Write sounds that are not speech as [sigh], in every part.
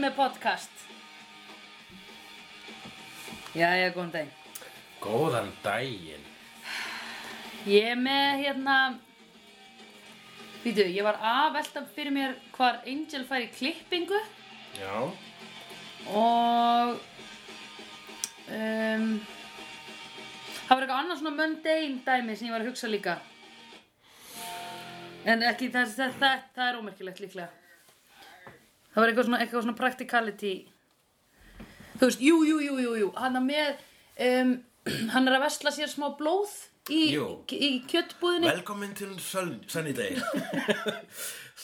podcast Jæja, góðan daginn Góðan daginn. Ég er með hérna Vítu, ég var að velta fyrir mér hvar Angel fær í klippingu Já. og um, það var eitthvað annars svona mundane dæmi sem ég var að hugsa líka en ekki þess að það, það er ómerkilegt líklega það var eitthvað svona, eitthvað svona practicality þú veist, jú, jú, jú, jú, jú hann er með um, [clears throat] hann er að vesla sér smá blóð í, í, Jú. í kjöttbúðinni Velkomin til Sun- Sunny [laughs] Day.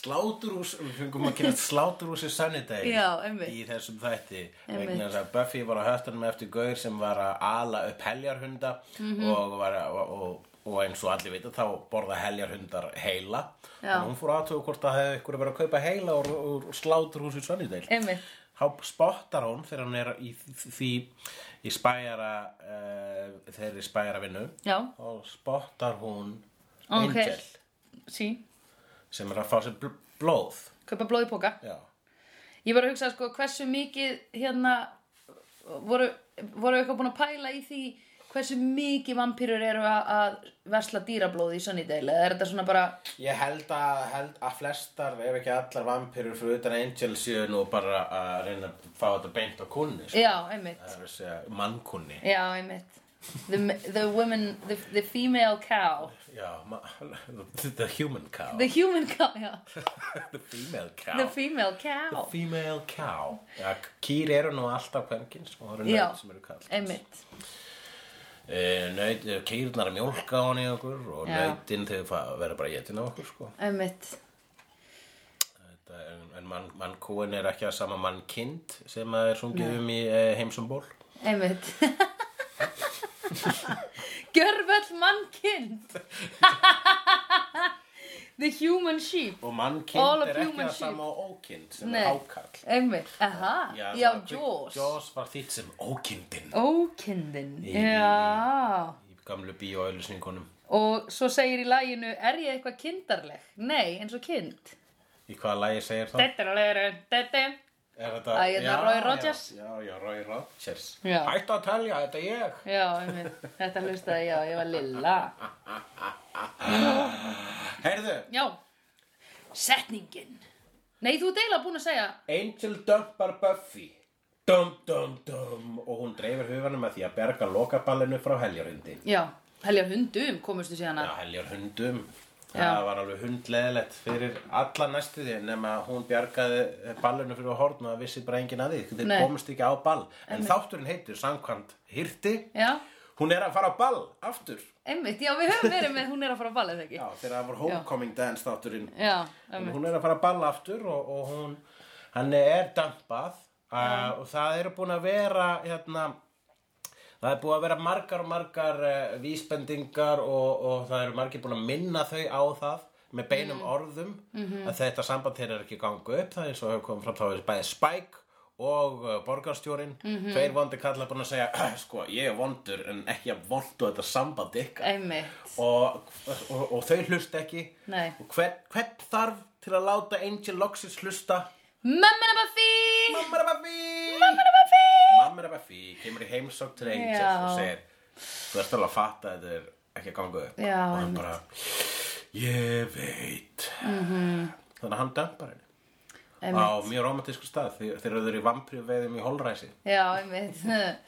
sláturhús, við fengum að kynna sláturhúsi Sunny Day Já, einmitt. í þessum þætti. Einmitt. Vegna þess að Buffy var á höftunum eftir gaur sem var að ala upp heljarhunda Mhm. og, var, að- og, og, og eins og allir vita þá borða heljarhundar heila. Já. Og hún fór aðtöku hvort það hefði ykkur að vera að kaupa heila úr, úr sláturhúsi Sunny Day. einmitt, þá spottar hún þegar hún er í því í spæjara uh, þeirri spæjara vinnu já, þá spottar hún Ok. Angel sí sem er að fá sér bl blóð kaupa blóð í póka já, Ég var að hugsa sko hversu mikið hérna voru, voru eitthvað búin að pæla í því hversu mikið vampýrur eru að, að vesla dýrablóð í Sunnydale eða er þetta svona bara Ég held að, held að flestar, ef ekki allar vampirur fyrir utan Angel séu nú bara að reyna að fá þetta beint á kunni sko. já, einmitt, það er að segja mannkunni já, einmitt the, the women, the, the female cow já, ma- [laughs] the human cow the human cow, já [laughs] the female cow the female cow, female cow ja, kýr eru nú alltaf kvenkins og það eru Já. nöð sem eru kallt einmitt Nöyt, kýrnar að mjólka á hann í okkur og Já. nöytin þegar það verður bara getin á okkur sko. einmitt, Þetta er, en mann, mannkúin er ekki að sama mannkind sem að er sungið um í eh, heimsumból einmitt [laughs] Gjörvöld mannkind [laughs] the human sheep og All mannkind of er ekki human að sheep. sama og ókind sem Nei. er ákall Einmitt, aha, já, já það- Jaws Jaws var þitt sem ókindin Ókindin, Í- já í gamlu bíóauðlusningunum Og svo segir í læginu, er ég eitthvað kindarleg? Nei, eins og kind í hvaða lagi segir það? Já, Er þetta Æ, hérna Já, Roy já, Rogers. Já, já, Roy Rogers Já. Hættu að telja, þetta er ég einmitt, þetta hlustaði ég á, ég var lilla Heyrðu, Já, setningin Nei, þú ert eiginlega búin að segja Angel dumpar Buffy Dum, dum, dum Og hún dreifir hufanum að því að berga lokaballinu frá heljarhundi Já, helja hundum komustu síðan Já, að heljarhundum Já. Það var alveg hundleðilegt fyrir alla næstu því nema hún bjargaði ballinu fyrir að horna að vissi bara enginn að því þeir Nei. komist ekki á ball en þátturinn heitir samkvæmt hirti Já, hún er að fara á ball aftur einmitt, já, við höfum verið með hún er að fara að balla þegar já, ekki þegar það var homecoming dance þátturinn Já, En einmitt, hún er að fara að balla aftur og, og hún, hann er dampað uh, og það eru búin að vera hérna, það er búin að vera margar margar uh, vísbendingar og, og það eru margir búin að minna þau á það með beinum orðum að þetta samband þeirra er ekki í gangu upp það er eins og hefur komið fram þá er bæði Spike og uh, borgarstjórin tveir vondi kallar búin að segja [clears throat] sko ég er vondur en ekki að vondu þetta samband ykkar einmitt og, og, og þau hlusta ekki Nei. og hvern, hvern þarf til að láta Angel Loxis hlusta Mömmina Buffy Mamma er að Buffy Mamma er að Buffy Mamma er að Buffy kemur í heimsók til Angel Já. og segir þú ert alveg að fatta að þetta er ekki að ganga upp Já, og hann einmitt. bara ég veit mm -hmm. þannig að hann dömpar henni Mhm. Einmitt. á mjög romantísku stað þegar þeir eru í vampri veiðum í holræsi Já, einmitt.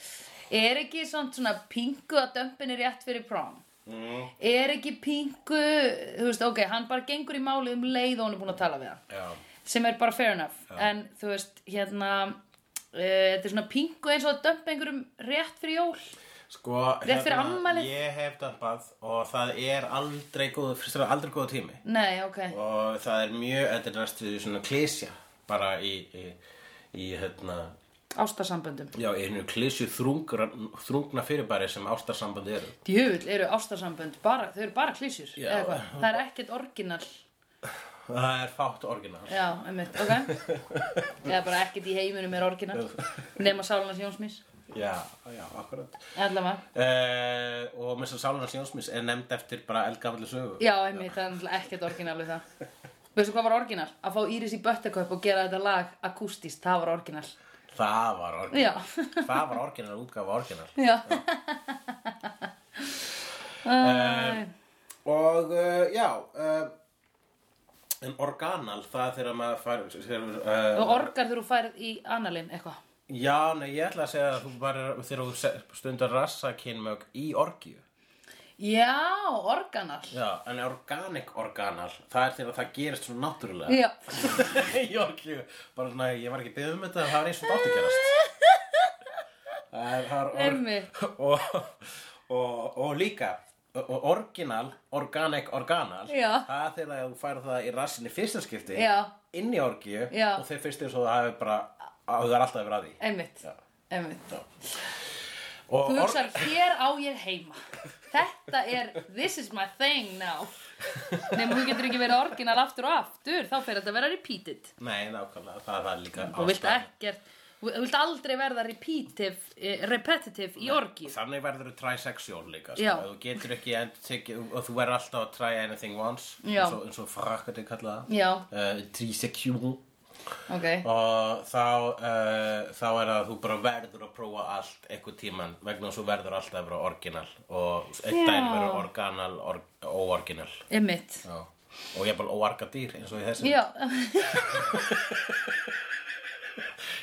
[laughs] Er ekki samt svona pingu að dömpin er rétt fyrir prom? mm. Er ekki pingu, þú veist, ok, hann bara gengur í málið um leið og hún er búin að tala við hann. já, Sem er bara fair enough. En þú veist, hérna, uh, þetta er svona pingu eins og að dömpa einhverjum rétt fyrir jól. Sko, Rétt fyrir afmælið. ég hef dampað og það er aldrei góð, fyrst og fremst aldrei góð tími Nei, ok. og það er mjög, þetta er næstu því svona klísja bara í, í, í hérna, Ástarsamböndum. já, í hennu klísju þrungna, þrungna fyrirbæri sem ástarsambandi eru. Djöfull eru ástarsambönd bara, þau eru bara klísjur. Já. eða hvað. Það er ekkert orginal. Það er fátt orginal. Já, einmitt, [laughs] ok. Eða bara ekkert í heiminum er orginal. Nefna Sálunas Jónsmís. Já, já, akkurat. Allavega. Uh, og með þess að Sálunar Sjónsmís er nefnd eftir bara eldgafalli sögu. Já, einmitt, það er náttúrulega ekkert orginal við það. Veistu hvað var orginal? Að fá Íris í Buttercup og gera þetta lag akústist, það var orginal. Það var orginal. Já. [laughs] [laughs] Það var orginal, útgafa orginal. Já. Æ, Og uh, já, uh, en organal, það er þegar maður fær... Sér, uh, og orgar þegar þú færð í analinn eitthvað. já, nei, ég ætla að segja að þú bara, þegar þú se- stundar rassakynmög í orgíu. Já, organar. Já, en organic organal, það er þegar það gerist svona náttúrulega. Já. [laughs] í orgíu. Bara svona, ég var ekki beðið um þetta, það var eins og þetta átti að gerast. Það er- það er Einmitt. og, og, og líka og orginal, organic, organal Já. það er þegar þú færð það í rassinni fyrsta skipti Já. inn í orgíu Já. og þeir fyrst eins og það hefur bara að það er alltaf verið að því Einmitt. Einmitt. og Þú or, hugsar, hér á ég heima. Þetta er, this is my thing now. Nefnum þú getur ekki verið orginal aftur og aftur, þá fer þetta að vera repeated. nei, nákvæmlega, það, það er líka Þú vilt ástæðan. ekkert, þú vilt aldrei verða repetitive, eh, repetitive í orgið. þannig verður þú trisexual Já. líka sko. Ef þú getur ekki endur tekið og þú verður alltaf að try anything once Já. eins og, eins og frakkandi kalla það Já, uh, trisexual ok. og þá, uh, þá er það að þú bara verður að prófa allt einhvern tíman vegna þess að þú verður alltaf að vera orginal og einn Já. dæn verður organal or, óorginal Einmitt. Já. og ég er bara óargadýr eins og í þessu Já, [laughs]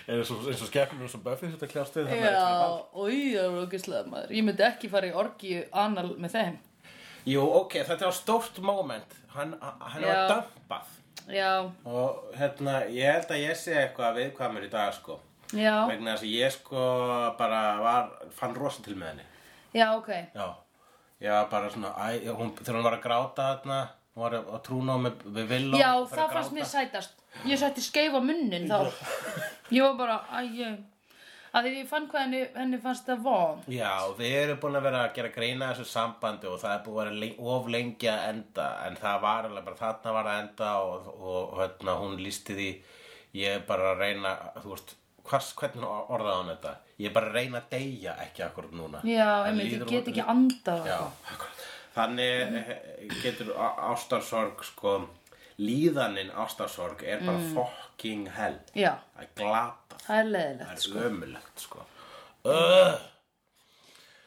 eins og, eins og skepnum sem Buffy þetta kljást við þannig að þetta er já, val. oi, það var ógislega maður. Ég myndi ekki fara í orgið anal með þeim. Jú, ok, þetta var stórt moment hann, hann var Já. dampað Já, og hérna, ég held að ég sé eitthvað viðkvæmur í dag sko já, vegna þess að ég sko bara var, fann rosa til með henni já, ok. Já, ég var bara svona, æ, hún, þegar hún var að gráta þarna, hún var að trúna á með, með villó. Já, það fannst mér sætast. Ég setti skeifa munnin [laughs] þá. Ég var bara, æ, að því ég fann hvað henni, henni fannst það von. Já, við erum búin að vera að gera greina þessu sambandi og það er búin að vera leng, of lengi að enda, en það var alveg bara þarna var að enda og, og, og hérna, hún lísti því, ég er bara að reyna, þú veist, hvers, hvernig or- orðaði hún þetta? Ég er bara að reyna að deyja ekki akkur núna. Já, Það einmitt, líður ég get hún- ekki andað. Já, akkurat. Þannig eh, getur á- ástarsorg sko, líðanin ástarsorg er bara Mm. fucking hell. Já, Það er glata, það er leðilegt. það er ömulegt sko. Uh,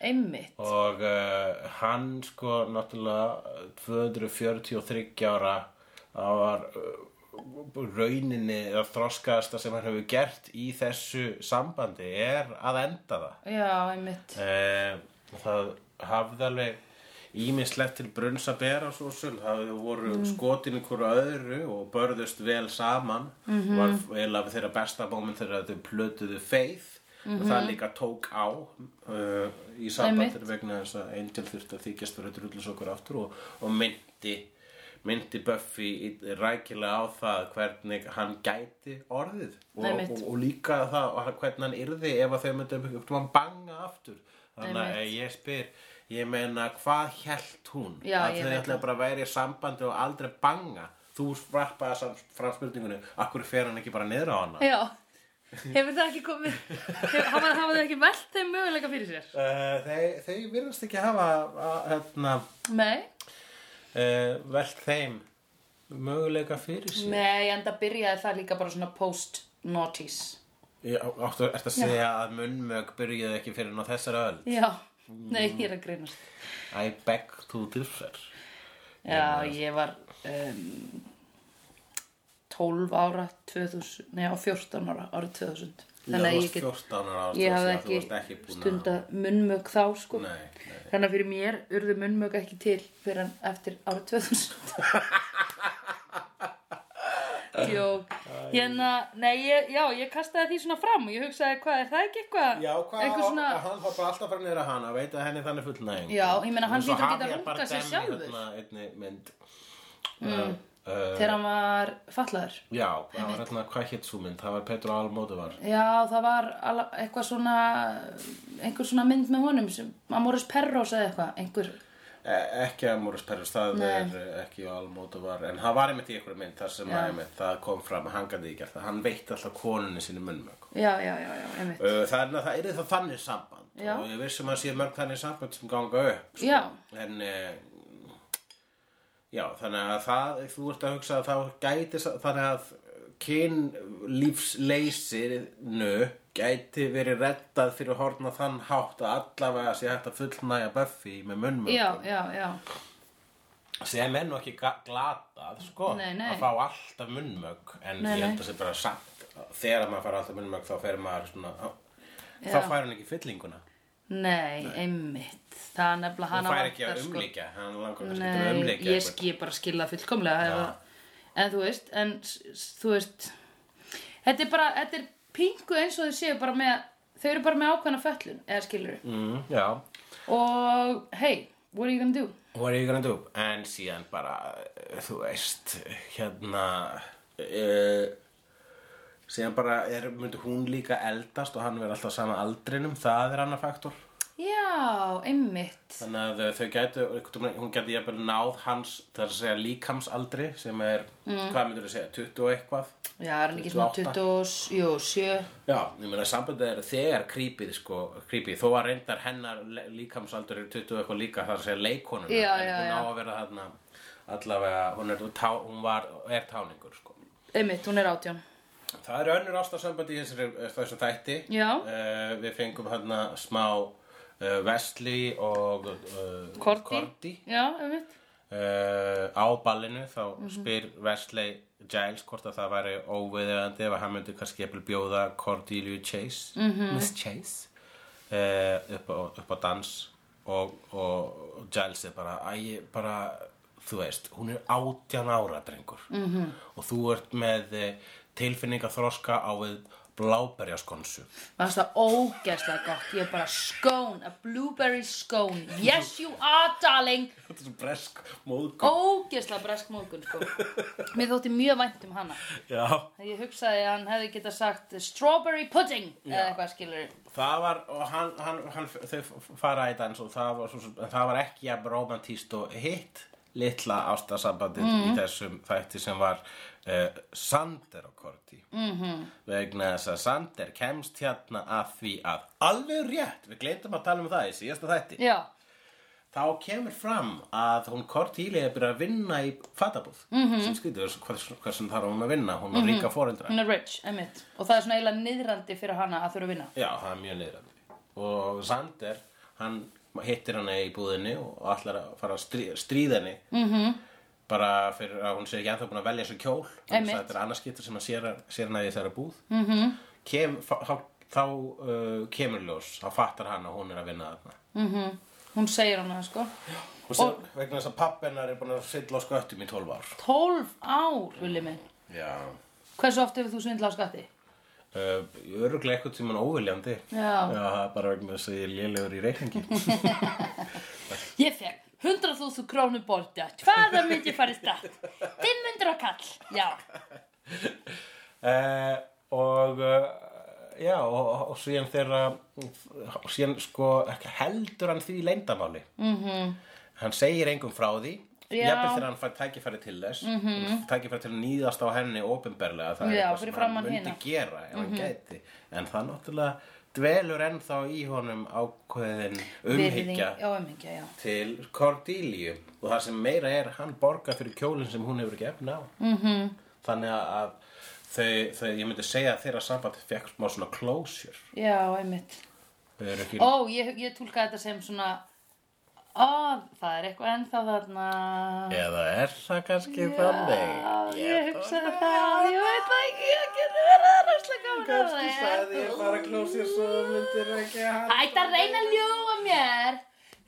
Einmitt. og uh, hann sko náttúrulega eh, 243 ára það var uh, rauninni eða þroskaðasta sem hann hefur gert í þessu sambandi er að enda það. Já, einmitt. Eh, það hafði alveg ímislegt til brunns að bera svo sem það voru mm. skotin ykkur öðru og börðust vel saman mm Mhm. -hmm. var eiginlega þeirra besta bómin þegar þau plötuðu faith Mhm. og það líka tók á uh, í sambandir vegna þess að Angel þurfti að þykjast fyrir drullis okkur aftur og, og myndi myndi Buffy í- rækilega á það hvernig hann gæti orðið og, Einmitt. og, og líka það og hann- hvernig hann yrði ef að þau myndi um hann banga aftur þannig að ég spyr ég meina hvað hélt hún Já, að ég þau veit ætla það. bara að vera í sambandi og aldrei banga þú sprappaði samt fram spurningunni akkur fer hann ekki bara niður á hana Já, hefur það ekki komið, hefur, hafa, hafa þau ekki velt þeim möguleika fyrir sér? uh, þeir, þeir virðast ekki hafa að, hérna, Nei. uh, velt þeim möguleika fyrir sér Nei, en það byrjaði það líka bara svona post-noughties. Ég áttu eftir að segja að munnmög byrjuði ekki fyrir ná þessar öll. Já, Mm. nei, ég er að grínast. I beg to differ. Já, ég var um, 12 ára, 2000, nei, á 14 ára, árið 2000. Þannig að ég get... get, 14 ára ástu ég hafði ekki, ekki, þú varst ekki búin stundað munnmög þá, sko. að... Nei, nei. Þannig að fyrir mér urðu munnmög ekki til fyrir hann eftir árið 2000. Jók. Hérna, nei, ég, já, ég kastaði því svona fram og ég hugsaði, hvað, er það ekki eitthvað? Já, hvað, Einhver svona... svona, hann var bara alltaf frá niður að hana, veit að henni þannig fullnæðing. Já, ég meina, hann Eins og hlýtur að geta Javier rungað Bardem sér í sjálfur. þarna hérna einni mynd. Mm. Uh, uh, þegar hann var fallaður. já, það var hérna, hvað hétt svo mynd? Það var Petru Almóduvar. Já, það var ala- eitthvað svona, einhver svona mynd með honum sem Amoris Perros eða eitthvað, einhver. E ekki að Morris Perus, það Nei. er eh, ekki Almóduvar, en hann var einmitt í einhverju mynd þar sem Já. að einmitt, það kom fram, hann gæti ekki gert það, hann veitt alltaf konunni sinni munnmög. Já, já, já, já, einmitt. Uh, Þannig að það er það þannig samband Já. og ég vissum að sé mörg þannig samband sem ganga upp Já. en uh, já þannig að það, þú ert að hugsa að það gæti sa- þannig að kynlífsleysinu gæti verið reddað fyrir horna þann hátt að allavega sé hægt að fullnæja Buffy með munnmöndum já, já, já sem er nú ekki ga- glatað sko, Nei, nei. að fá alltaf munnmögg en Nei, ég nei. held að sé bara samt þegar maður fær alltaf munnmögg þá fer maður svona þá Já. fær hann ekki fyllinguna Nei, einmitt Það er nefnilega hann hana fær ekki að sko. umlíkja hann langar kannski til að Nei, umlíkja ég skil bara skilða fullkomlega ja. En þú veist, en s- s- þú veist Þetta er bara, þetta er pingu eins og þau séu bara með Þau eru bara með ákveðna föllun, eða skilur mm, já, Og hey, what are you gonna do? what are you gonna do en síðan bara, eh, þú veist hérna uh, síðan bara er, myndi hún líka eldast og hann verður alltaf sama aldrinum það er annar faktor Já, einmitt Þannig að eh, þau- þau gætu, einhvern tímann- hún gæti jafnvel náð hans, það er að segja líkamsaldri sem er, hvað myndir þau segja, 20 og eitthvað? Já, er hann ekki svona 28? 27 Já, ég meina sambandið er þegar creepyð, sko, creepy, þó að reyndar hennar le- líkamsaldur er 20 og eitthvað líka, það er að segja leikonum, Já, en já, hún á já. að vera þarna allavega, hún er, tá, hún var, er táningur, sko. Einmitt, hún er 18 Það eru önnur ástarsambandi í þessari, þessu þætti. Já. Eh, við fengum hérna smá uh, Vesli og uh, Korti. Korti. Já, einmitt uh, á ballinu þá spyr Wesley Giles hvort að það væri óviðeigandi ef að hann myndi kannski jafnvel bjóða Cordelia Chase -hmm. Miss Chase uh, upp, á, upp á dans og, og Giles er bara að ég bara þú veist, hún er átján ára drengur -hmm. og þú ert með eh, tilfinning að þroska á við bláberjaskonsu Mér fannst það ógeðslega gott. Ég er bara scone, a blueberry scone. Yes you are darling. Þetta er svo bresk móðgum Ógeðslega bresk móðgun, sko. Mér þótti mjög vænt um hana. Já, Ég hugsaði að hann hefði getað sagt strawberry pudding eða eitthvað skilur. Það var, og hann, hann, hann þau fara í dans og það var, svo, sem- en það var ekki jafn romantíst og hitt litla ástasambandið í þessum þætti sem var uh, Sander og Korti mm -hmm. vegna þess að Sander kemst hérna að því að alveg rétt, við gleyndum að tala um það í síðasta þætti Já, þá kemur fram að hún Kortíli er byrjað að vinna í fatabúð mm -hmm. sem skrýtur, hvað, hvað sem þarf hún að vinna hún á ríka foreldra hún er rich, einmitt. Og það er svona eiginlega niðrandi fyrir hana að þurfa að vinna. Já, það er mjög niðrandi. Og Sander, hann hittir hana í búðinni og allar að fara að strí, stríða henni. Mm Mhm. -hmm. Bara fyrir að hún sé ekki ennþá búin að velja sér kjól. Þannig Einmitt. Mhm. að þetta er annarskiptur sem hann sér, sér hana í þessari búð. Mm -hmm. Kem, þá þá uh, kemur ljós, þá fattar hann að hún er að vinna þarna. Hún segir hana, það, sko. Og, og vegna þess að pappennar er búin að silla á sköttum í 12 ár. 12 ár, viljið minn. Já. Hversu oft hefur þú svindlað á skatti? Uh, öruglega eitthvað tímann óviljandi. Já. Já, bara vegna þess að ég er lélegur í reikningi. [laughs] Ég fekk 100.000 krónur borta. Hvaða myndi ég fara í skatt? 500 kall, já. Eh, og uh, já og, og- og síðan þegar og síðan sko heldur hann því leindamáli mm -hmm. hann segir engum frá því Mhm. Já. Mhm. jafnir þegar hann fær tækifæri til þess mm -hmm. tækifæri til að nýðast á henni opinberlega það er Já, fyrir eitthvað sem hann framan myndi hina. Mhm. gera ef hann gæti en það náttúrulega dvelur ennþá í honum ákveðin umhyggja Virðing- Já, umhyggja, já. til Cordelia og það sem meira er hann borgar fyrir kjólinn sem hún hefur ekki efna á -hmm. Mhm. þannig að þau, þau, ég myndi segja að þeirra samband fekk smá svona closure Já, einmitt. þau eru ekki, Ó, ég, ég tólka þetta sem svona Ó, það er eitthvað ennþá þarna eða er það kannski þannig Ég hugsaði það, ég veit það ekki, ég getur verið að rásla gaman að kannski það sagði ég bara closure svo þú myndir ekki hann Ætti að reyna að ljúa mér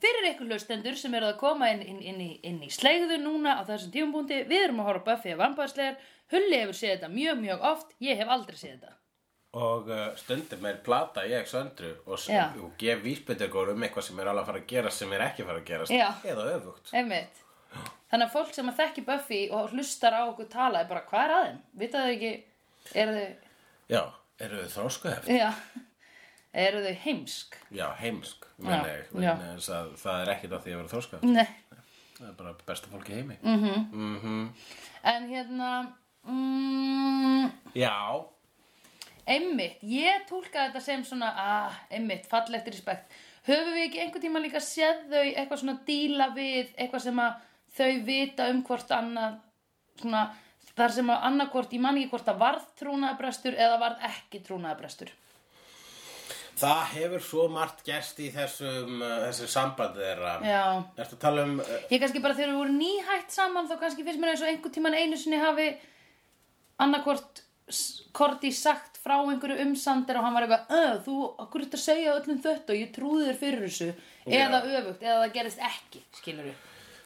Fyrir ykkur hlustendur sem eru að koma inn, inn, inn, í, inn í sleigðu núna á þessum tíumbúndi Við erum að horfa á Buffy að vambaðslegar Hulli hefur séð þetta mjög, mjög oft Ég hef aldrei séð þetta og uh, stundum er plata ég söndru og, s- Já. og gef vísbyttingur um eitthvað sem er alveg að fara að gerast sem er ekki að fara að gerast Já. eða öfugt Einmitt. Þannig að fólk sem að þekki Buffy og hlustar á okkur tala er bara, hvað er aðeim? Vita þau ekki, eru þau, já, eru þau þróskuheft já, eru þau heimsk? Já, heimsk, meina Já, ég, já. Mm. vegna þess að það er ekkert að því að vera þroska. Nei. Það er bara besta fólk í heimi. Mm. En hérna, mm, Já, einmitt, ég túlka þetta sem svona, ah, einmitt, fallegt respekt. Höfum við ekki einhvern tíma líka séð þau eitthvað svona díla við, eitthvað sem að þau vita um hvort annað, svona, þar sem að annarkvort, ég man ekki hvort það varð trúnaðabrestur eða varð ekki trúnaðabrestur Það hefur svo margt gerst í þessum, uh, þessum sambandi þeirra. Já. Ertu að tala um... Uh, Ég kannski bara þegar við vorum nýhætt saman þá kannski finnst mér eins og einhvern tíman einu sinni hafi annarkvort Korti sagt frá einhverju umsandir og hann var eitthvað, "Ö, þú, okkur ert að segja öllum þetta og ég trúði þér fyrir þessu Já. eða öfugt, eða það gerist ekki, skilur við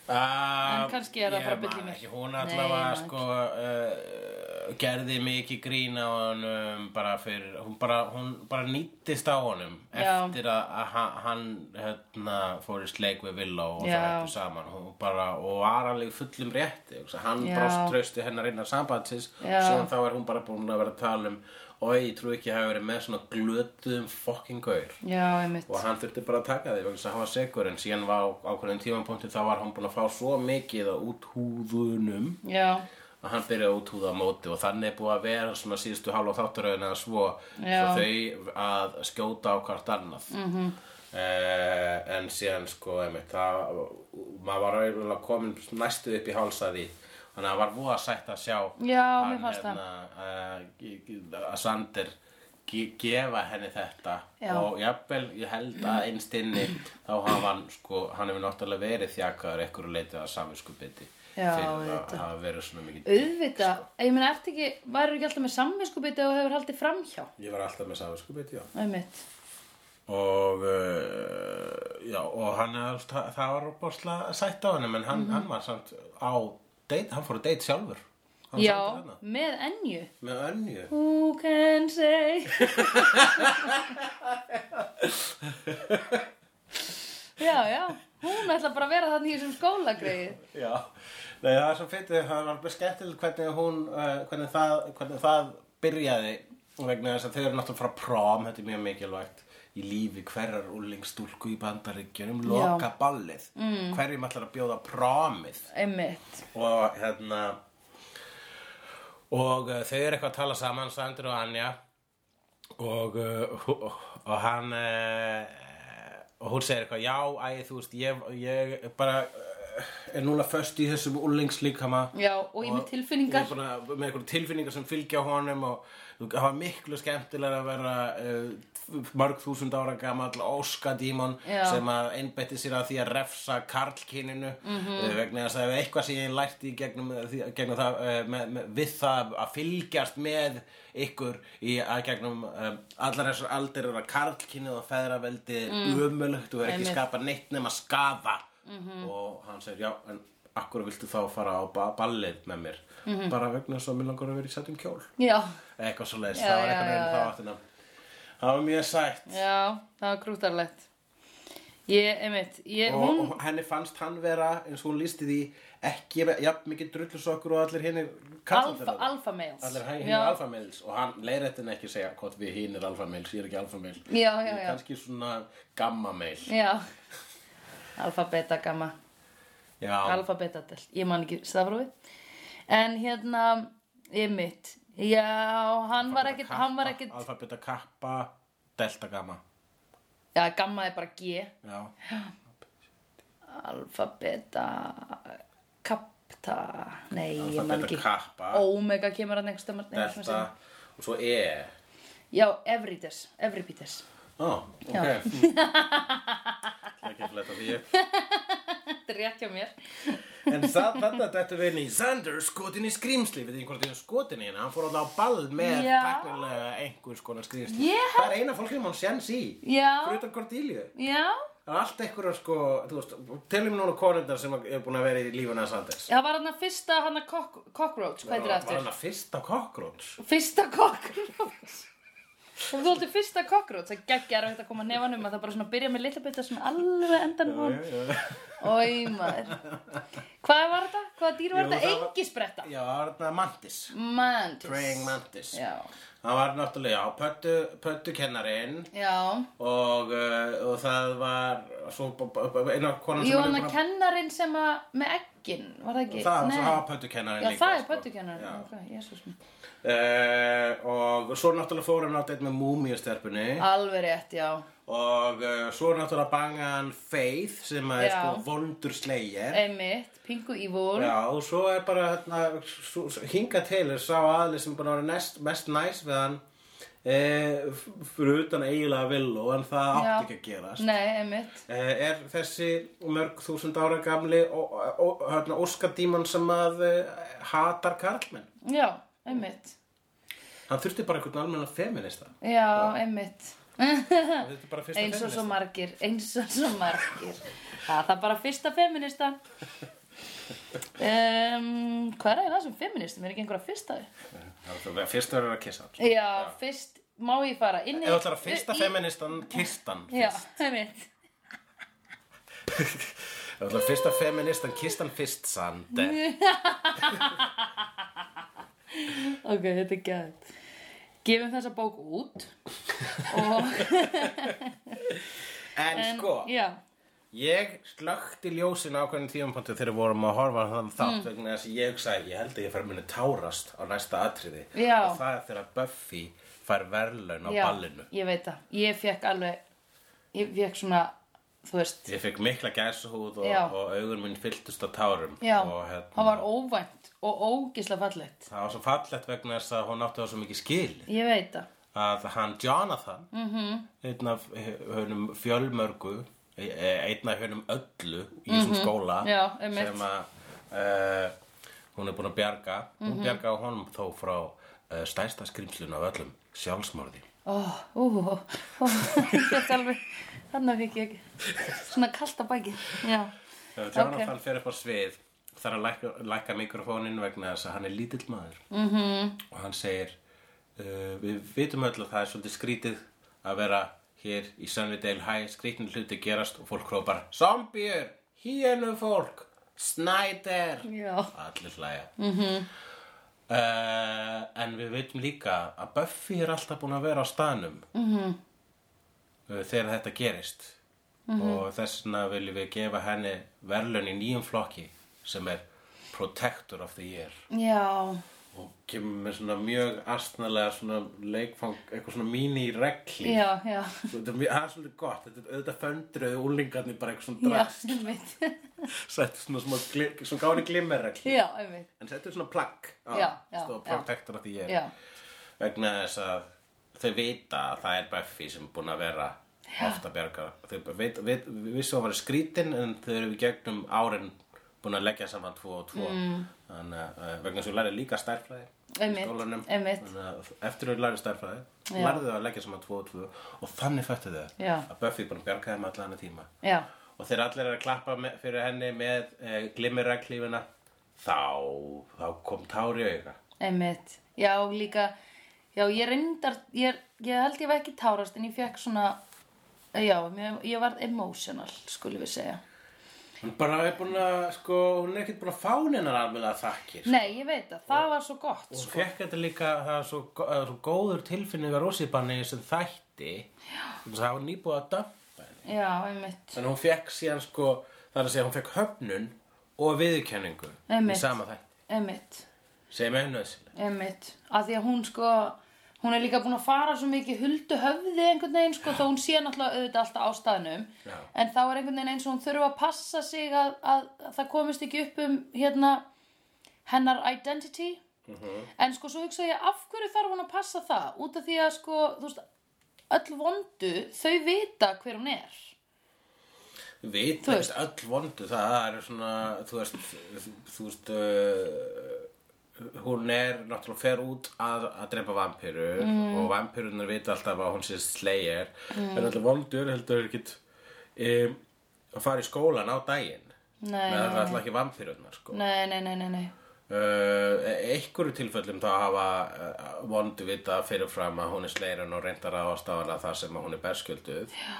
Uh, En kannski er það bara bull í mér. Ekki, hún Nei, ég allavega man sko uh, gerði mikið grín á honum bara fyrir, hún bara, hún bara nýttist á honum Já. eftir að, að ha- hann hérna, fór í sleik við Villó og Já. það hættu saman hún bara, og var alveg í fullum rétti hugsa. hann Já. brást trausti hennar innan sambandsins Já. síðan þá er hún bara búin að vera að tala um oi, ég trú ekki að hafa verið með svona glötuðum fucking gaur Já, einmitt og hann þurfti bara að taka því vegna þess að hann var segur en síðan var á ákveðin tímapunkti þá var hann búin að fá svo mikið á úthúðunum Já, að hann byrjaði að úthúða á móti og þannig er búið að vera svona síðustu hálf og þátturöðin eða svo Já. Mhm. svo þau að skjóta á hvart annað mm -hmm. en síðan sko einmitt, það, maður var auðvitað komin næstu upp í hálsaði þannig að það var voða sætt að sjá Já, mér fannst það. hérna, eh, að Sander ge- gefa henni þetta Já. og jafnvel, ég held að einst inni þá hafa hann sko, hann hefur náttúrulega verið þjakaður einhverju leitið að samvinskupiti Já, fyrir að auðvitað. hafa verið svona mikið auðvitað, Sko. ég meina, ert ekki, væri ekki alltaf með samvinskupið og hefur haldið framhjá ég var alltaf með samvinskupiti, já Einmitt, og uh, já, og hann er- það, það var bórsla sætt á henni, menn hann, hann var samt á date, hann fór að date sjálfur Hann já, samdi hana. með ennju með önju Who can say Já, já Hún ætla bara að vera þannig í þessum skólagreið Já, Nei, það er svo fyndið, það var alveg skemmtilegt hvernig hún, uh, hvernig, það, hvernig það byrjaði vegna þess að þau eru náttúrulega frá prom, þetta er mjög mikilvægt í lífi hverjar úlingstúlku í bandaríkjunum, loka ballið, mm. hverjum ætlar að bjóða promið Einmitt og hérna, og uh, þau eru eitthvað að tala saman, Sandur og Anja og, uh, hú- og hann uh, og hún segir eitthvað já, æ, þú veist, ég, ég bara uh, er núna föst í þessum úlingslíkama Já, og ég með tilfinningar. með, bara, með einhverjum tilfinningar sem fylgja honum og það var miklu skemmtilega að vera uh, mörg þúsund ára gamall óskadímon Já. sem að einbetti sér að því að refsa karlkininu Mhm. -hmm. vegna þess að ef eitthvað sem ég lærti í gegnum, eh, því- gegnum það, uh, með, með, við það að fylgjast með ykkur í að gegnum um, allar þessar aldir er að karlkinið og feðraveldi er ömulegt og er Mm. ekki Einmitt. Mhm. skapa neitt nema skafa og hann segir já en akkur viltu þá fara á ba ballið með mér Mhm. bara vegna þess að mér langar að vera í sætum kjól Já, eitthvað svo leiðis, Já, það var já, eitthvað já, neina þá já. áttina það var mjög sætt já, það var grútarlegt Ég, einmitt ég, og, hún, og henni fannst hann vera eins og hún lísti því ekki jafn mikið drullusokkur og allir hinnir kallandir alfa, alfa males Allir hæ- hinir Já. alfamils og hann leiðrættin ekki segja hvort við hinir alfamils, ég er ekki alfamil Já, já, Ég er já. kannski svona gammamil Já Alfa, beta, gamma Já, Alfa, beta, del Ég man ekki stafrófið En hérna, ég mitt Já, hann var ekkit, hann var ekkit Alfa, beta, kappa, delta, gamma Já, gamma er bara G Já, Alfa, beta, kapta Nei, alfa, ég man beta, ekki kappa, Omega kemur hann einhverjum delta og svo e Já, everydes, everybites Ó, ok Já. Hmm. Það er ekki að fletta því upp [laughs] Þetta er rétt hjá mér En það, þarna dættu við inn í Sander skotin í skrýmsli Við einhvern veginn skotin í hérna Hann fór alltaf á ball með Já. takkilega einhvers konar skrýmsli Ég Það er eina fólk sem hann séns í Fyrir Já, utan Cordelia já Það er allt einhverjar sko þú veist, Telum núna konundar sem er búin að vera í lífuna að Sanders Það var hann að fyrsta hann að cockroach, hvað heitir það Var aftur? hann að fyrsta cockroach Fyrsta cockroach Ef þú heldur fyrsta cockroach það geggjar að þetta koma nefanum að það bara svona byrja með litla bita sem alveg endan hún Ói maður Hvað var þetta? Hvaða dýr var Jú, þetta? það var- Engi spretta Já, það var þarna mantis Praying Mantis mantis Já, Það var náttúrulega, já, pöttu, pöttu kennarinn já og, uh, og það var svo b- b- b- eina konan sem Jú, er hann búin að kennarin sem að með eggin, var það ekki? Það, Nei. það var pöttu kennarinn Já, líka það er sko. pöttukennarin, Já. ok, jésús minn Uh, og svo náttúrulega fór hann á deitt með múmíustelpunni Alveg rétt, já. og uh, svo náttúrulega banga hann Faith sem að er Já. sko vondur slegir Einmitt, Pingu Ívól. Já, og svo er bara hérna, svo, svo, hinga til er sá aðli sem bara var nest, mest næs við hann e, fyrir utan eiginlega villu en það átti Já. ekki að gerast Nei, einmitt. e, er þessi mörg þúsund ára gamli og, og, hérna, óskadíman sem að e, hatar karlmenn Já, einmitt. hann þurfti bara einhvern almennan feminista Já, einmitt. hann þurfti bara fyrsta eins og svo feminista margir, eins og svo margir. Það, það er bara fyrsta feminista. Um, hvað er það sem feministum? Er ekki einhverja fyrstaði? svo... fyrst verður að kissa hann Já, fyrst má ég fara inn í... Ef þú ætlar að fyrsta í- feministan, kist hann Já, fyrst. einmitt. Ef þú ætlar að fyrsta feministan, kist hann fyrst, sandi. Ok, þetta er gæðið. Gefum þessa bók út [laughs] og... En, sko, Já, ég slökkti ljósin á hvernig tímapunktu þegar við vorum að horfa á þann Mm. þátt vegna þess að ég hugsaði, ég held að ég fær minni tárast á næsta atriði. Já. Og það er þegar Buffy fær verðlaun á já, ballinu. ég veit það. Ég fekk alveg, ég fekk svona, þú veist, Ég fekk mikla gæsuhúð Já. og, og augun mín fylltust á tárum. já, og, hérna, það var óvænt og ógislega fallegt. Það var svo fallegt vegna þess að hún átti það svo mikið skil. Ég veit það. að hann Jonathan mm -hmm. Mhm. einn af hönum fjölmörgu e- e- einn af hönum öllu í þessum skóla Mhm. Já, einmitt. sem að uh, hún er búin að bjarga Mhm. hún bjarga á honum þó frá uh, stærsta skrimslun af öllum sjálfsmorði Ó, ú, ó, ó, [laughs] ég fekk alveg, þannig fekk ég svona kalt á baki. Já, Þegar Jonathan fer upp á svið þarf að lækka, lækka mikrofónin vegna þess að hann er lítill maður mm -hmm. og hann segir uh, við vitum öll að það er svolítið skrítið að vera hér í Sunnydale High skrítin hluti gerast og fólk hrópar Zombiur, híenu fólk Snyder já, allir hlæja mm -hmm. uh, en við veitum líka að Buffy er alltaf búin að vera á staðnum mm -hmm. þegar þetta gerist og þess vegna viljum við gefa henni verðlun í nýjum flokki sem er Protector of the Year já, og kemur með svona mjög astnalega svona leikfang, eitthvað svona mini regli já, já, Þetta er mjög- það er svolítið gott, þetta er auðvitað föndruðu úlingarnir bara eitthvað svona já, drast, einmitt, [laughs] sættu svona, svona, glim, svona gáni glimmerregli já, einmitt, En þetta er svona plagg Já, já, stóð já. protektor að því ég já, vegna þess að þau vita að það er Buffy sem er búin að vera ofta bjarga þau bara veit, veit, við vissum að það var skrítin en þau eru í gegnum árin búin að leggja saman tvo og tvo mm. þannig að vegna þess að þú læri líka stærfræði Einmitt, einmitt. að eftir að þú læri stærfræði Já. lærðu þau að leggja saman tvo og tvo og þannig fættu þau Já. að Buffy er búin að bjarga þeim allan að tíma já, og þeir allir eru að klappa með, fyrir henni með e, glimmerreglífina þá, þá kom tár í auga einmitt, já, líka, já, ég reyndar, ég, ég held ég var ekki tárast en ég fekk svona, já, mér- ég var emotional, skulum við segja. hún bara er búin að sko, hún er ekkert búin að fá neinar alveg þakkir Nei, ég veit það, það var svo gott, hún sko. fekk þetta líka það er svo, go- það er svo góður tilfinningar ósipanni sem þætti þannig að það var nýbúið að dampa henni Já, einmitt, þannig að hún fekk síðan sko það er að segja hún fekk höfnun og viðurkenningu Einmitt. í sama þætti einmitt. sem er nöðsynlega Einmitt, að því að hún sko hún er líka búin að fara svo mikið huldu höfði einhvern veginn sko þó hún sé náttúrulega auðvitað alltaf á staðnum Já. en þá er einhvern veginn eins og hún þurfa að passa sig að, að, að það komist ekki upp um hérna hennar identity Mhm. en sko svo hugsa ég af hverju þarf hún að passa það út af því að sko þú veist öll vondu þau vita hver hún er Við Þú veist. veist öll vondu það er svona, þú veist, þú veist, uh, hún er náttúrulega fer út að, að drepa vampirur Mm. og vampirunar vita alltaf að hún sé slegir, en alltaf vondur heldur ekkit um, að fara í skólan á daginn, Nei, það er nei, alltaf ekki vampirunar sko. nei, nei, nei, nei, nei. Uh, einhverju tilfellum þá hafa uh, vondu vita fyrirfram að hún er sleirin og reyndar að ástafala það sem að hún er berskjölduð Já.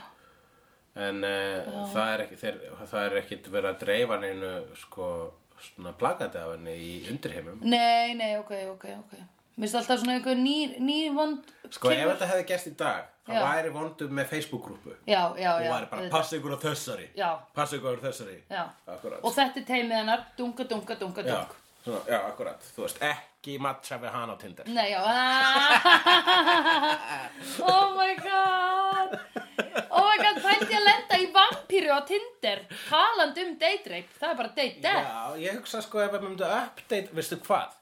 en uh, það er ekki þeir, það er ekkit verið að dreifa neinu sko svona plakati af henni í undirheimum Nei, nei, ok, ok, ok Mér finnst alltaf svona einhver ný, ný vond sko ef þetta hefði gerst í dag þá Já. væri vondu með Facebook-grúpu Já, já, og já væri bara auðvitað. passa ykkur á þessari Já. passa ykkur á þessari Já. Akkúrat. Og þetta er teimið hennar, dunga, dunga, dunga, Já, dunga. svona, já, akkurat, þú veist, ekki ekki matcha við hann á Tinder Nei, já Ah! [laughs] Oh my god Oh my god, pældi ég að lenda í vampíru á Tinder talandi um date rape, það er bara date death Já, ég hugsa sko ef við myndum update, veistu hvað?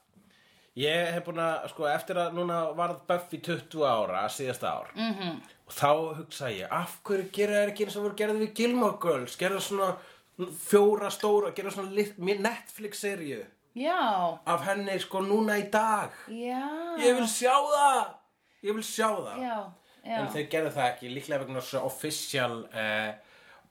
Ég hef búin að, sko, eftir að núna varð Buffy 20 ára síðasta ár Mhm. -hmm. og þá hugsa ég, af hverju gera þær ekki eins og voru gerði við Gilmore Girls, gera svona fjóra stóra, gera svona lit- Netflix-seríu Já, af henni sko núna í dag. já Ég vil sjá það! Ég vil sjá það! Já, já En þeir gerðu það ekki, líklega vegna svo official uh,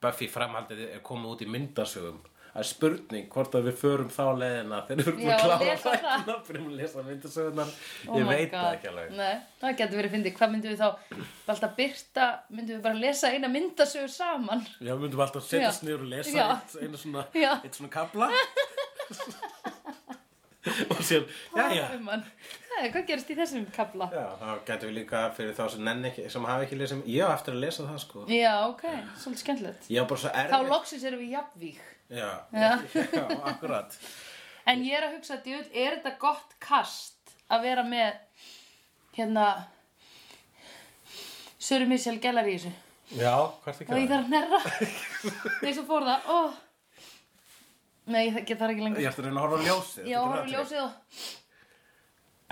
Buffy framhaldið er komið út í myndasögum. Það er spurning hvort að við förum þá leiðina þegar við erum búin Já, að klára lesa það. þættina fyrir að lesa myndasögunar. Oh ég my veit það God. ekki alveg. Nei, það getur verið fyndið, hvað myndum við þá bara alltaf byrta, myndum við bara lesa eina myndasögur saman Já, við myndum alltaf að setjast Já. niður og lesa Já. eitt, einu svona, Já. eitt svona [laughs] kabla. og sér, já, já. um hann. Nei, hvað gerist í þessum kabla? Já, þá getum við líka fyrir þá sem nenni ekki, sem hafa ekki lesið, ég á eftir að lesa það sko. Já, ok, svolítið skemmtilegt Ég á bara svo Þá erfitt. loksins erum við jafnvík Já, [laughs] já, Já. akkurat. En ég er að hugsa, djöfull, er þetta gott kast að vera með hérna Söru Michel Gellar í þessu Já, hvað er það og ég þarf að nerra Nei, svo fór það oh. Nei, ég þa- ég þarf ekki lengur Ég ætti að reyna að horfa á ljósið Já, þetta horfum getur ljósið og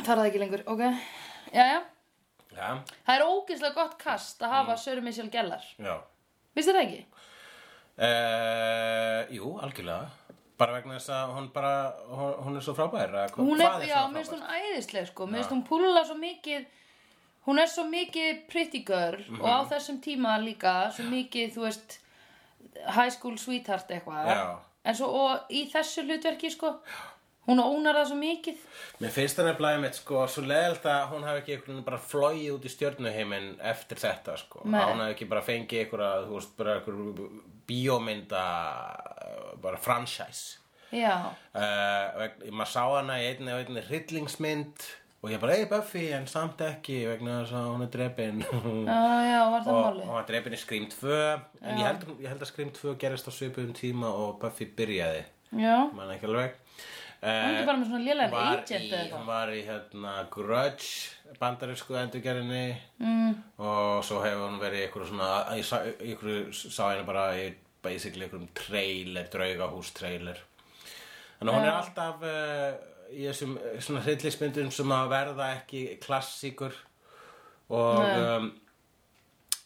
þarf það ekki lengur, ok Jæja, atriði. Já, það er ógeðslega gott kast að hafa Söru Michel Gellar já Vist þér það ekki? uh, Jú, algjörlega Bara vegna þess að hún bara Hún, hún er svo frábær eða hvað- Hún hvað er, já, svona mér finnst frábært? hún æðisleg sko, mér finnst hún púla svo mikið hún er svo mikið pretty girl og Mhm. á þessum tíma líka svo mikið, þú veist high school sweetheart eitthvað Já. en svo og í þessu hlutverki sko hún ónar það svo mikið Mér finnst það nefnilega mitt sko Svo leðilt að hún hafi ekki einhvern veginn bara flogið út í stjörnuheiminn Eftir þetta sko Nei. Að Hún hafi ekki bara fengið einhverja Þú veist, bara einhverju bíómynda eh, Bara franchise já, uh, maður sá hana í einni og einni hryllingsmynd og ég bara, ei Buffy, en samt ekki vegna þess að hún er drepin [laughs] og já, já, var það og máli hún var drepin í Scream 2 en ég held, ég held að Scream 2 gerist á svipuðum tíma og Buffy byrjaði já, mann ekki alveg hún er uh, ekki bara með svona lélæn var agent í, eða eitthvað hún var í hérna, Grudge bandarísku endurgerinni mm. og svo hefur hún verið í einhverju svona ég sá, einhverju, sá hérna bara í basically einhverjum trailer, draugahús trailer þannig að hún er alltaf uh, í þessum eh, svona hryllismyndum sem að verða ekki klassíkur og um,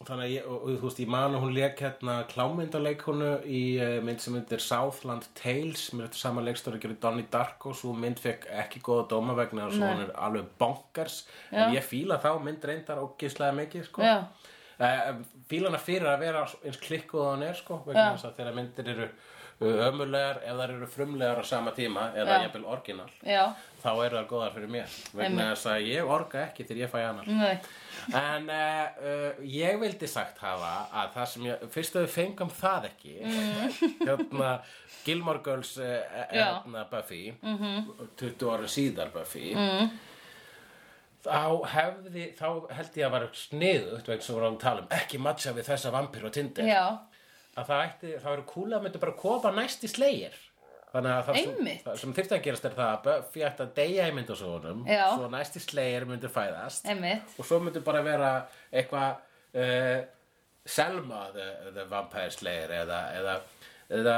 þannig að ég, og, og, þú veist, ég man að hún leik hérna klámyndaleikonu í uh, mynd sem myndir Southland Tales mér er þetta sama leikstóri að gera Donnie Darko svo mynd fekk ekki góða dóma vegna og svo hún er alveg bonkers en ég fíla þá mynd reyndar ógislega mikið sko. Já. Eh, fíla hana fyrir að vera eins klikkuð og hann er sko, vegna Já. þess að þegar myndir eru ömulegar ef þær eru frumlegar á sama tíma eða Já. jafnvel orginal já, þá eru þær góðar fyrir mér vegna Einmitt. þess að ég orga ekki þegar ég fæ annar nei, En uh, uh, ég vildi sagt hafa að það sem ég, fyrst að við fengum það ekki, hérna Gilmore Girls, uh, Mm. Já. Mhm. hérna Buffy, 20 ára síðar Buffy, Mm. þá hefði, þá held ég að vera sniðugt vegna sem vorum að tala um, ekki matcha við þessa vampir og tindir, já að það ætti, þá eru kúla að myndi bara koma næst í slegir. Þannig að það sem, Einmitt. það sem þyrfti að gerast er það að Buffy ætti að deyja í myndasóðunum, Já. svo næst í slegir myndi fæðast Einmitt. og svo myndi bara vera eitthvað uh, Selma the, the Vampire Slayer eða, eða, eða,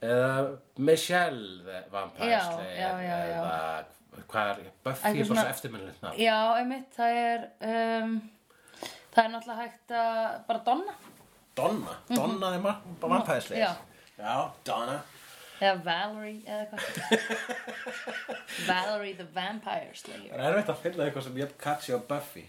eða Michelle the Vampire Já, Slayer já, já, já. eða hvað er Buffy Eitthvað er bara svona- svo eftirminnilegt nafn Já, einmitt, það er um, það er náttúrulega hægt að bara donna Donna, Donna the Ma- Vampire Slayer Mhm. Já. já Donna Eða Valerie eða eitthvað [laughs] Valerie the Vampire Slayer Það er erfitt að finna eitthvað sem ég katsi á Buffy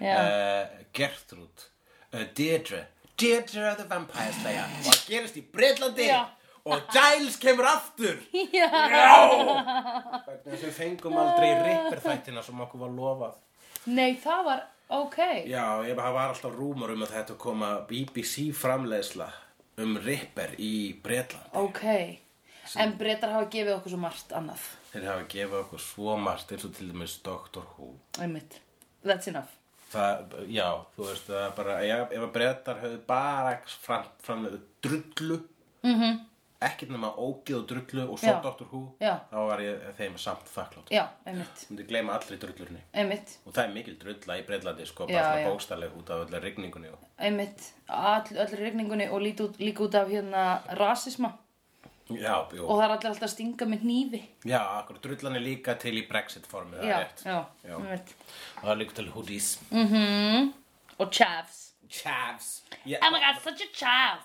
Já, uh, Gertrúd uh, Deirdre Deirdre the Vampire Slayer og það gerist í Breitlandi Já. og Giles kemur aftur [laughs] Já. Já Vegna þess að við fengum aldrei ripper þættina sem okkur var lofað Nei, það var ok Já, ég það var alltaf rúmur um að þetta koma BBC framleiðsla um ripper í Bretland Ok En breytar hafa gefið okkur svo margt annað Þeir hafa gefið okkur svo margt eins og til dæmis Doctor Who Einmitt, that's enough Það, já, þú veist, það er bara, já, ef að brettar höfðu bara fram, fram drullu mm -hmm. ekkert nema ógið og drullu og svo Mhm. Já. Dr. Who Já. þá var ég þeim samt þakklátt já, einmitt, myndi gleyma allri drullurni einmitt, og það er mikil drulla í Breitlandi sko Já, bara já. svona bókstalleg út af öllu rigningunni og... einmitt, all, öll regningunni og líti út, líka út af hérna rasisma já, jú, og það er allir alltaf að stinga með hnífi. já, akkur drullan er líka til í Brexit formi það Já, er rétt já, Mm. Já. einmitt. og það er líka til hoodies Og chavs. chavs yeah, Oh my god, such a chav.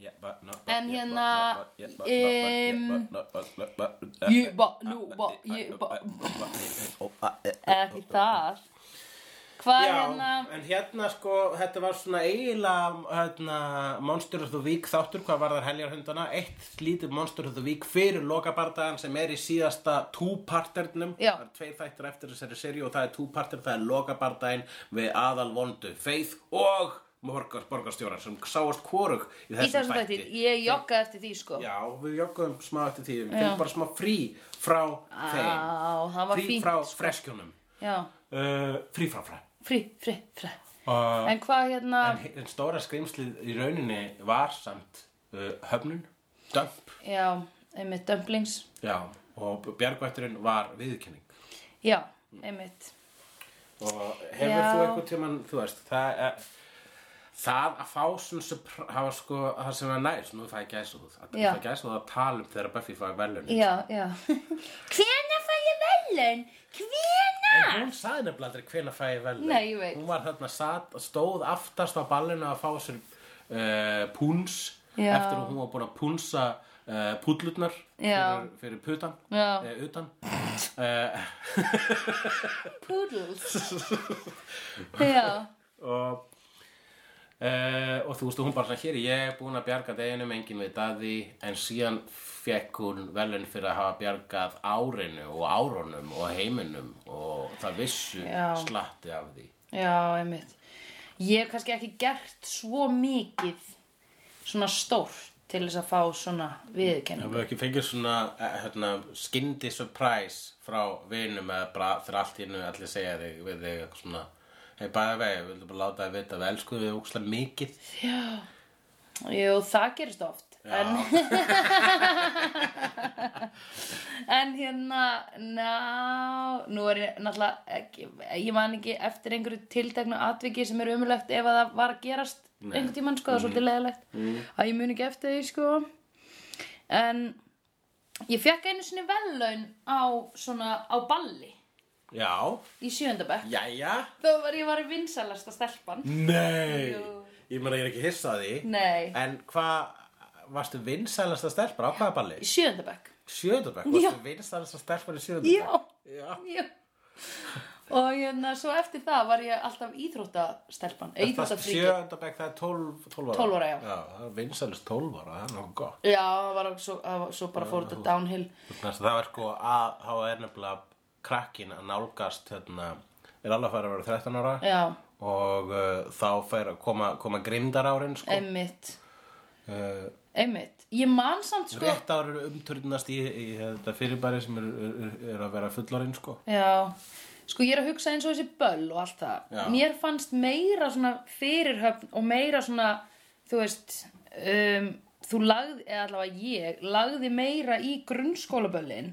yeah, but, no, but, En yeah, hérna, but, yeah, but, yeah, but, yeah, but, but, yeah, Ég ba, nú ba, ég ba, but, [laughs] yeah. eða ekki þar. Hvað er Oh, Já, hérna, en hérna sko, þetta var svona eiginlega hérna, Monster of the Week þáttur, hvað var þar heljarhundana, eitt lítið Monster of the Week fyrir lokabardagan sem er í síðasta two-parternum, Já. það er tveir þættir eftir þessari seríu og það er two-partern, það er lokabardaginn við aðal vondu, Faith og borgar, borgarstjórar sem sáast hvorug í í þessum þessum þætti. þætti, ég joggaði eftir því sko. Já, við jogguðum smá eftir því, við fengum bara smá frí frá þeim, Á, Ah, það var frí fínt. frá freskjónum, Já, uh, frí frá frá. frí, frí, frí. Uh, En hvað hérna, En hi- en stóra skrimslið í rauninni var samt uh, höfnun, dömp, já, einmitt, dumplings. já, og bjargvætturinn var viðurkenning. Já, einmitt. Og hefur Já. þú eitthvað tímann, þú veist, það er... Það að fá svona surpr- það var sko, það sem var næst, nú fæ ég gæsluð, að Já. það gæsluð að tala um þegar Buffy fæði velun. Já, já. [laughs] Hvena fæ ég velun? Hvena? En hún sagði nefnilega aldrei hvenær fæ ég velun. Ah! Nei, ég veit. Hún var þarna sat, stóð aftast á ballinu að fá sér uh, púns Já. eftir að hún var búin að púnsa uh, púllutnar Já. fyrir, fyrir putan. Já. Eh, utan. Eh, [laughs] Poodles. já, og, uh, og þú veist, hún bara svona, hér er ég búin að bjarga deginum, enginn veit að því, en síðan fekk hún velun fyrir að hafa bjargað árinu og árunum og heiminum og það vissu Já. slatti af því. já, einmitt. Ég hef kannski ekki gert svo mikið svona stórt til þess að fá svona viðurkenningu. Það var ekki fengið svona eh, hérna, skyndi surprise frá vinum eða bara þegar allt í hennu allir segja þig við þig eitthvað svona hei bæði vegi, við vildum bara láta þig vita að við elskuðum þig ógstlega mikið Já, jú, það gerist oft. En, [laughs] en hérna, ná, nú er ég náttúrulega, ekki, ég man ekki eftir einhverju tilteknu atviki sem er umulegt ef að það var að gerast einhvern tímann, sko, það er svolítið leðilegt. Að ég mun ekki eftir því, sko. En ég fekk einu sinni vellaun á, svona, á balli Já, í sjöndabæk. jæja Þó var ég var í vinsalasta stelpan. Mm. Nei, Jú. ég meina ég er ekki hissað því Nei, En hvað varstu vinsælasta stelpur á hvaða balli? í sjöndabæk. Sjöðurbæk, Já. varstu vinsælasta stelpur í Sjöðurbæk? Já. Já Já. Og hérna, svo eftir það var ég alltaf íþróttastelpan, eh, íþróttafríki. Sjöðurbæk það er 12, 12 ára 12 ára, já. Já, það er vinsælast 12 ára, það er nokkuð gott Já, það var svo, það var- svo bara fór þetta downhill. Þannig að það er sko að þá er nefnilega krakkin að nálgast hérna, er alveg að fara að vera 13 ára Já, og uh, þá fær að koma, koma grimdar árin sko. einmitt, uh, einmitt. Ég man samt sko, rétt árin umturnast í, í þetta fyrirbæri sem er, er, er að vera fullorinn sko. já, sko ég er að hugsa eins og þessi böll og allt það. Já. Mér fannst meira svona fyrirhöfn og meira svona, þú veist, um, þú lagði, eða allavega ég, lagði meira í grunnskólaböllin.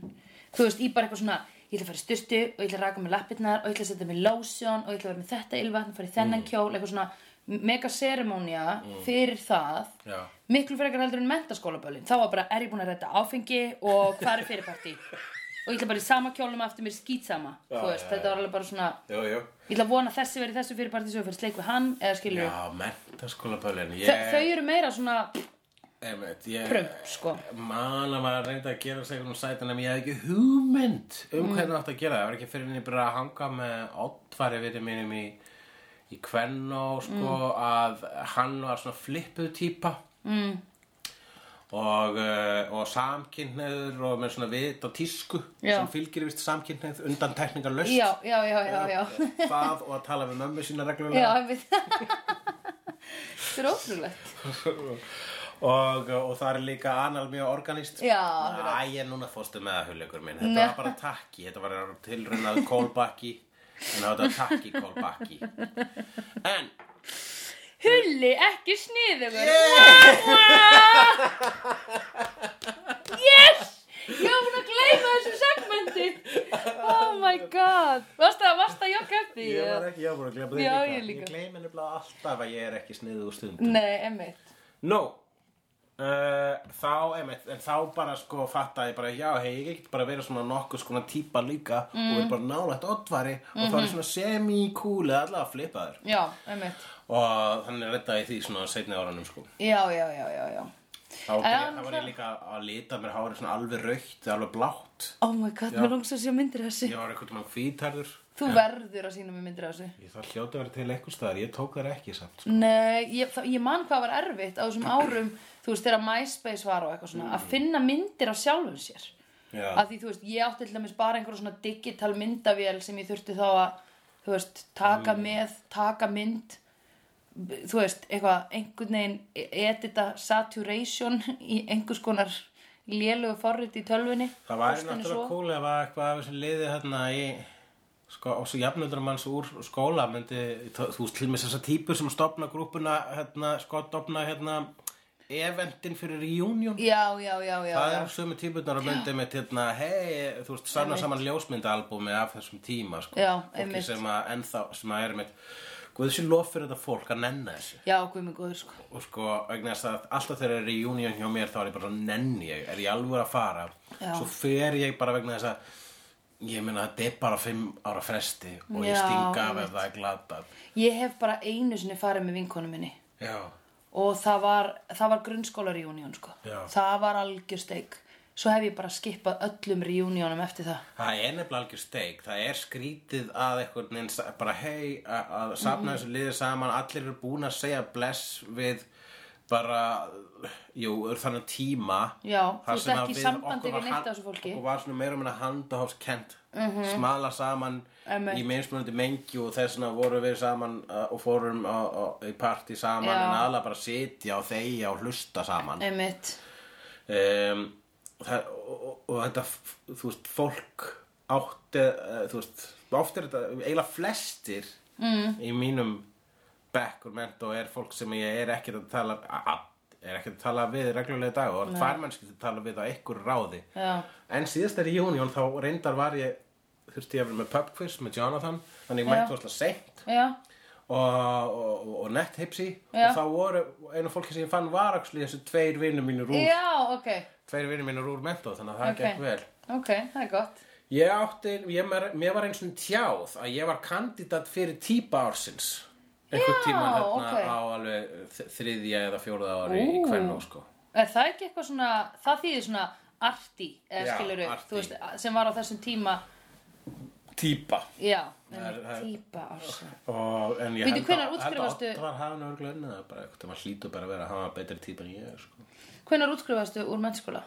Þú veist, í bara eitthvað svona, ég ætla að fara í styrtu og ég ætla að raka með lappirnar og ég ætla að setja með lósjón og ég ætla að vera með þetta ylvatn, fara í þennan kjól, eitthvað svona mega ceremonía fyrir það. Já. miklu frekar heldur en mentaskólaböllin þá var bara er ég búin að redda áfengi og hvað er [laughs] fyrirparti og ég ætla bara í sama kjólum aftur mér skýtsama já, veist, já, þetta var alveg bara svona Jú, jú. ég ætla að vona að þessi verið þessu fyrirparti svo ég fyrir sleik við hann eða skilur Já, mentaskóla bölinn. Þau, þau eru meira svona Einmitt, ég prump sko man að maður reyndi að gera sig um sætin en ég hafði ekki hugmynd um mm. hvernig átt að gera það, það var ekki fyrir henni bara að hanga með oddfari vitið mínum í, í Kvennó sko, Mm. að hann var svona flippuð típa mm. og, uh, og samkynhneður og með svona vit og tísku Já. sem fylgir vist samkynhneð undan tekningar löst já, já, já, já, já það og að tala við mömmu sína já, reglulega einmitt [laughs] þetta er ótrúlegt og, og það er líka anal mjög organist Já, Æ, ég er núna fórstu með það hullegur minn Þetta var bara takki, þetta var tilrunað kólbakki En það var þetta takki kólbakki En Hulli, ekki sniðugur Yes! Ég var búin að gleyma þessu segmenti Oh my god Varst það, varst það jokk eftir? Ég var ekki, ég var búin að glemma Já, það ég líka. Ég gleymi nefnilega alltaf að ég er ekki um sniðið úr stundum. Nei, emmitt Nó, uh, þá, einmitt, en þá bara sko fattaði ég bara, já, hei, ég get bara verið svona nokkuð skona típa líka Mm. og er bara nálægt oddvari og þá er Mhm. ég svona semi-cool eða allavega flippaður. Já, emmitt Og þannig reddaði ég því svona seinni áranum sko. Já, já, já, já, já Þá var Já, ég- þá var ég líka að lita mér hárið svona alveg raukt, alveg blátt. Oh my god, mér langs að sé myndir af þessu Ég var einhvern veginn hvítarður. Þú verður að sína mér myndir af þessu Ég þarf hljóta að vera til einhvers staðar, ég tók þær ekki samt. sko. Nei, ég, það, ég man hvað var erfitt á þessum árum, þú veist, þegar MySpace var og eitthvað svona, að finna myndir af sjálfum sér. Mm. Já. Að því, þú veist, ég átti til dæmis bara einhverja svona digital myndavél sem ég þurfti þá að, þú veist, Mm. taka með, taka mynd, b- þú veist, eitthvað, einhvern veginn e- edita saturation í einhvers konar lélugu forrit í tölvunni. Það væri Póstinni náttúrulega svo. cool ef að eitthvað af þessu liði hérna í sko, og svo jafnöldur manns úr skóla myndi, þú þú veist til með þessar típur sem stopna grúpuna hérna, sko, stopna hérna eventin fyrir reunion Já, já, já, já. það já. eru sömu típurnar að myndi mitt hérna, hei, þú veist, sanna saman ljósmyndaalbumi af þessum tíma, sko Já, fólki einmitt. sem að ennþá, sem að er mitt Guð þessi lof fyrir þetta fólk að nenna þessu Já, guð mig góður, sko. og sko, vegna þess að alltaf þegar er reunion hjá mér þá er ég bara nenni ég, er ég alveg að fara Já. svo fer ég bara vegna þess að ég meina þetta er bara fimm ára fresti og ég Já, stinga af einmitt. ef það er glatað Ég hef bara einu sinni farið með vinkonu minni. já, og það var, það var grunnskólarjúnión sko. Já. það var algjör steik svo hef ég bara skipað öllum reunionum eftir það það er nefnilega algjör steik það er skrítið að einhvern veginn sa- bara hei, a- að safna þessu liði saman allir eru búin að segja bless við bara jú, er þannig tíma Já, þar þú ert sem að ekki í við- sambandi okkur við var neitt hand- af þessu fólki. Mhm. okkur var svona meira meina handahófskent mm -hmm. smala saman Einmitt. í minnsmunandi mengi og þess vegna vorum við saman uh, og fórum á, á, í partí saman Já. en aðla bara sitja og þegja og hlusta saman einmitt, um, það, og, og, og þetta f- þú veist, fólk átti uh, þú veist, oft er þetta eiginlega flestir mm. í mínum bekkur ment og er fólk sem ég er ekkert að tala a- a- er ekkert að tala við reglulega í dag og tvær mennski að tala við á einhver ráði Já. en síðast er í júnión þá reyndar var ég þurfti ég að vera með pub quiz með Jonathan þannig Já. ég mætti þesslega seint já, og, og, og nett hipsi Já. og þá voru einu fólki sem ég fann var axli þessu tveir vinnum mínir úr já, ok tveir vinnir mínir úr mentó þannig að það Ok. gekk vel ok, það er gott ég átti, ég, mér, mér var eins og tjáð að ég var kandidat fyrir típa ársins einhvern Já, tíma hérna ok. á alveg þ- þriðja eða fjóruða ári í Ú. kvennu sko er það ekki eitthvað svona, það þýðir svona arti, eða Já, skilur arty. veist, sem var á þessum tíma típa já, er- einmitt, það er- típa ársum og, en ég Bíddu, held að- hvenær held að útskrifastu- Oddvar hafi nú örugglega unnið það bara eitthvað, maður hlýtur bara að vera að hafa betri típa en ég sko hvenær útskrifastu úr mennskóla?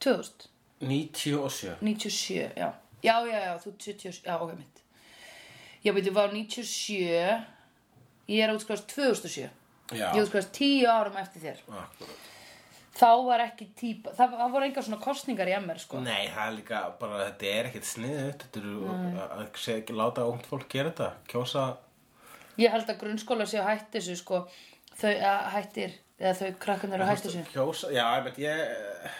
2000? 97 97, já. Já, já, já, þú 77, já, ok, mitt. Já, byrju, var 97, ég er útskrifast 2007. já, Ég útskrifast 10 árum eftir þér. akkurat Þá var ekki típa, það, það voru engar svona kostningar í MR, sko. Nei, það er líka bara, þetta er ekkert sniðut, þetta eru að- að segja ekki láta ungt fólk gera þetta, kjósa, Ég held að grunnskóla séu hætti þessu, sko, þau að hættir, eða þau krakkarnir eru hætti þessu. kjósa, já, ég veit, ég, eh,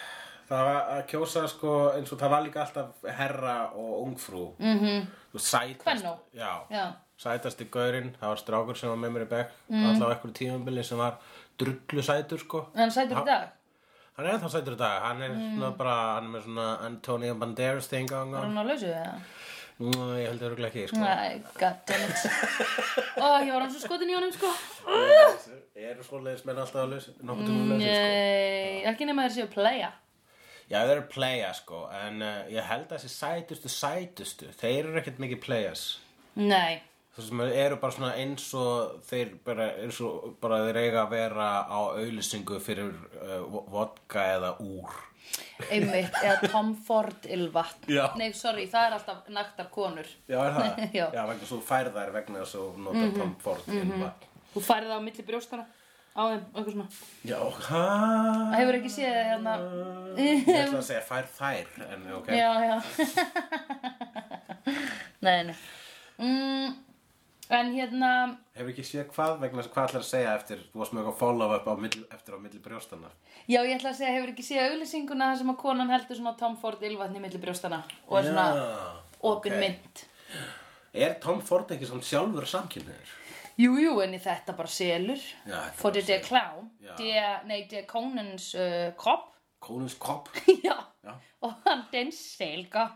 það var að kjósa sko, eins og það var líka alltaf herra og ungfrú, mm -hmm. sætast, Kvennó. já, Mhm. Já, sætasti gaurinn, það var strákur sem var með mér í bekk, Mhm. mm. allavega ekkur tímabili sem var drullu sætur sko. en hann sætur í dag. Hann er ennþá sætur í dag, hann er Mhm. svona bara, hann er með svona Antonio Banderas thing gang Var on, hann á lausu eða? mm. ég held örugglega ekki, sko. Nei, goddammit. Ó, ég var hann svo skotin í honum, sko. eru svoleiðis menn alltaf að lausa nokkuð Mm, tíma að lausa sko. Nei, ekki nema þeir séu að playa. já þeir eru playa sko en uh, ég held að þessi sætustu sætustu þeir eru ekkert mikið playas Nei. þú sem eru bara svona eins og þeir bara eins og bara þeir eiga að vera á auðlýsingu fyrir uh, vo- vodka eða úr einmitt, eða Tom Ford ylvatn Já. nei, sorry, það er alltaf naktar konur já er það [laughs] Já. Mhm. já vegna svo færðar vegna þess að þú nota Tom Ford mm þú færið það á milli brjóstana á þeim, eitthvað svona já hæ það hefur ekki séð það hérna ég ætla að segja fær þær en ok já, já nei, nei mm, En hérna, Hefur ekki séð hvað vegna þess hvað ætlar að segja eftir þú varst með eitthvað follow-up á milli, eftir á milli brjóstana já ég ætla að segja, hefur ekki séð auglýsinguna þar sem að konan heldur svona Tom Ford ylvatni milli brjóstana og er svona opin mynd. Er Tom Ford ekki samt sjálfur samkynniður? Jú, jú, en í þetta bara selur. Já, þetta For bara the selur. clown. Já. Der, nei, der konens uh, kopp. Kónus kopp [laughs] já. Já. Og hann den selger.